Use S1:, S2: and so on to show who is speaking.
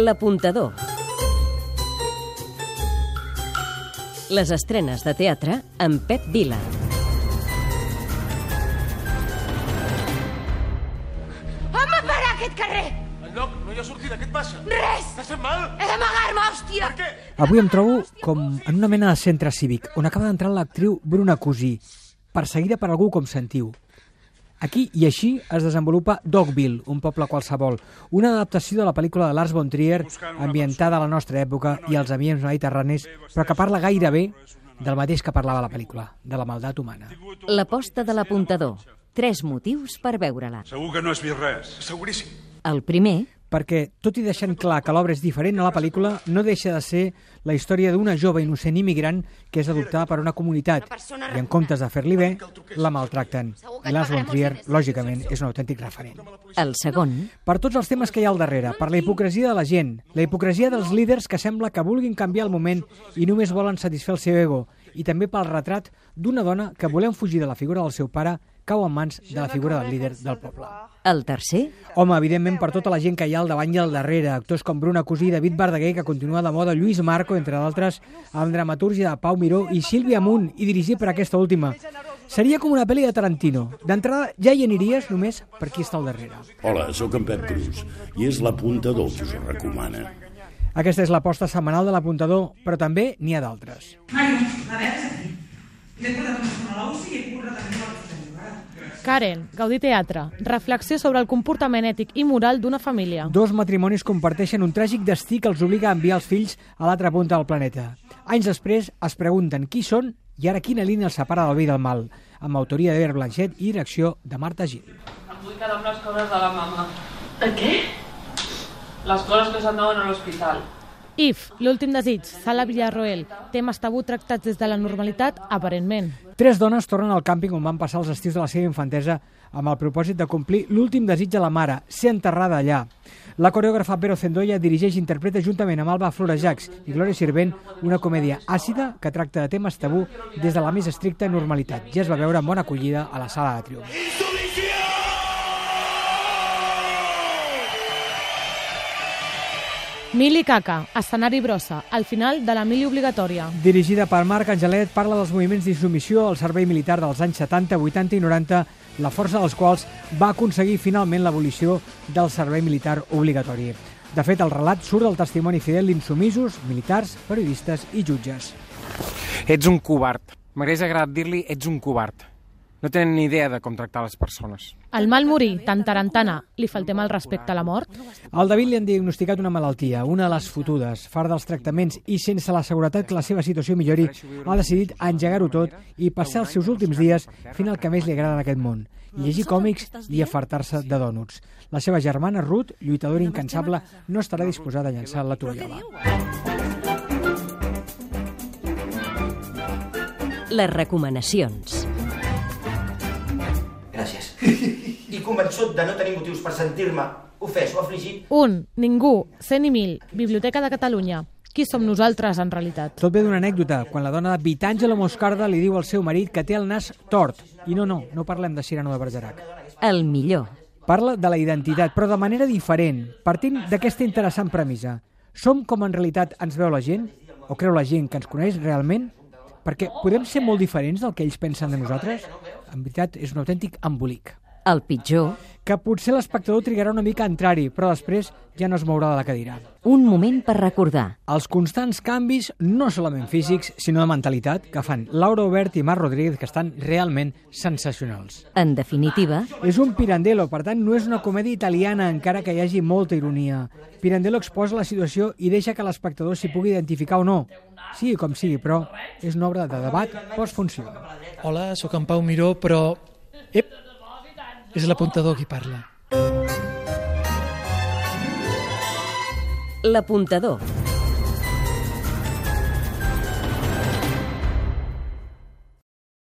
S1: L'apuntador. Les estrenes de teatre amb Pep Vila.
S2: Hem de parar aquest carrer!
S3: Enlloc, no hi ha sortida, què et passa?
S2: Res!
S3: T'has fet mal?
S2: He d'amagar-me, hòstia!
S3: Per què?
S4: Avui em trobo com en una mena de centre cívic, on acaba d'entrar l'actriu Bruna Cosí, perseguida per algú com sentiu. Aquí i així es desenvolupa Dogville, un poble qualsevol, una adaptació de la pel·lícula de Lars von Trier, ambientada a la nostra època i als ambients mediterranis, però que parla gairebé del mateix que parlava la pel·lícula, de la maldat humana.
S1: L'aposta de l'apuntador. Tres motius per veure-la.
S5: Segur que no has vist res.
S3: Seguríssim.
S1: El primer,
S4: Perquè, tot i deixant clar que l'obra és diferent a la pel·lícula, no deixa de ser la història d'una jove innocent immigrant que és adoptada per una comunitat i, en comptes de fer-li bé, la maltracten. I Lars von Trier, lògicament, és un autèntic referent.
S1: el segon,
S4: Per tots els temes que hi ha al darrere, per la hipocresia de la gent, la hipocresia dels líders que sembla que vulguin canviar el moment i només volen satisfer el seu ego, i també pel retrat d'una dona que, volent fugir de la figura del seu pare, cau en mans de la figura del líder del poble.
S1: el tercer,
S4: Home, evidentment, per tota la gent que hi ha al davant i al darrere, actors com Bruna Cosí, David Verdaguer, que continua de moda, Lluís Marco, entre d'altres, amb dramatúrgia de Pau Miró i Sílvia Munt, i dirigit per aquesta última. Seria com una pel·li de Tarantino. D'entrada, ja hi aniries només per qui està al darrere.
S6: Hola, sóc en Pep Cruz i és l'apuntador que us ho recomana.
S4: Aquesta és l'aposta setmanal de l'apuntador, però també n'hi ha d'altres.
S7: Karen, Gaudí Teatre. Reflexió sobre el comportament ètic i moral d'una família.
S4: Dos matrimonis comparteixen un tràgic destí que els obliga a enviar els fills a l'altra punta del planeta. Anys després es pregunten qui són i ara quina línia els separa del bé i del mal, amb autoria d'Eber Blanchet i direcció de Marta Gil.
S8: Em vull quedar amb les coses de la mama.
S2: Per què?
S8: Les coses que se'n deuen a l'hospital.
S7: If, l'últim desig, Sala Villarroel. Temes tabú tractats des de la normalitat, aparentment.
S4: Tres dones tornen al càmping on van passar els estius de la seva infantesa amb el propòsit de complir l'últim desig de la mare, ser enterrada allà. La coreògrafa Vero Zendoya dirigeix i interpreta juntament amb Alba Florejacs i Gloria Sirvent una comèdia àcida que tracta de temes tabú des de la més estricta normalitat. Ja es va veure amb bona acollida a la sala de triomf.
S7: Mili Caca, escenari brossa, al final de la mili obligatòria.
S4: Dirigida per Marc Angelet, parla dels moviments d'insubmissió al servei militar dels anys 70, 80 i 90, la força dels quals va aconseguir finalment l'abolició del servei militar obligatori. De fet, el relat surt del testimoni fidel d'insumisos, militars, periodistes i jutges.
S9: Ets un covard. M'hagués agradat dir-li ets un covard. No tenen ni idea de com tractar les persones.
S7: El mal morir, tan tarantana, li faltem el respecte a la mort?
S4: Al David li han diagnosticat una malaltia, una de les fotudes. Far dels tractaments i sense la seguretat que la seva situació millori, ha decidit engegar-ho tot i passar els seus últims dies fent el que més li agrada en aquest món, llegir còmics i afartar-se de dònuts. La seva germana Ruth, lluitadora incansable, no estarà disposada a llançar la tovallola.
S1: les recomanacions.
S10: Gràcies. I convençut de no tenir motius per sentir-me ofès o afligit,
S7: Un, ningú, cent i mil, Biblioteca de Catalunya. Qui som nosaltres, en realitat?
S4: Tot ve d'una anècdota, quan la dona de Vitangelo Moscarda li diu al seu marit que té el nas tort. I no, no, no parlem de Cyrano de Bergerac.
S1: El millor,
S4: Parla de la identitat, però de manera diferent, partint d'aquesta interessant premissa. Som com en realitat ens veu la gent? O creu la gent que ens coneix realment? Perquè podem ser molt diferents del que ells pensen de nosaltres? En veritat, és un autèntic embolic.
S1: el pitjor,
S4: Que potser l'espectador trigarà una mica a entrar-hi, però després ja no es mourà de la cadira.
S1: un moment per recordar.
S4: Els constants canvis, no solament físics, sinó de mentalitat, que fan Laura Obert i Mar Rodríguez, que estan realment sensacionals.
S1: En definitiva,
S4: És un Pirandello, per tant, no és una comèdia italiana, encara que hi hagi molta ironia. Pirandello exposa la situació i deixa que l'espectador s'hi pugui identificar o no. Sigui com sigui, però és una obra de debat postfunció.
S11: Hola, sóc en Pau Miró, però... Ep, és l'apuntador qui parla.
S1: l'apuntador.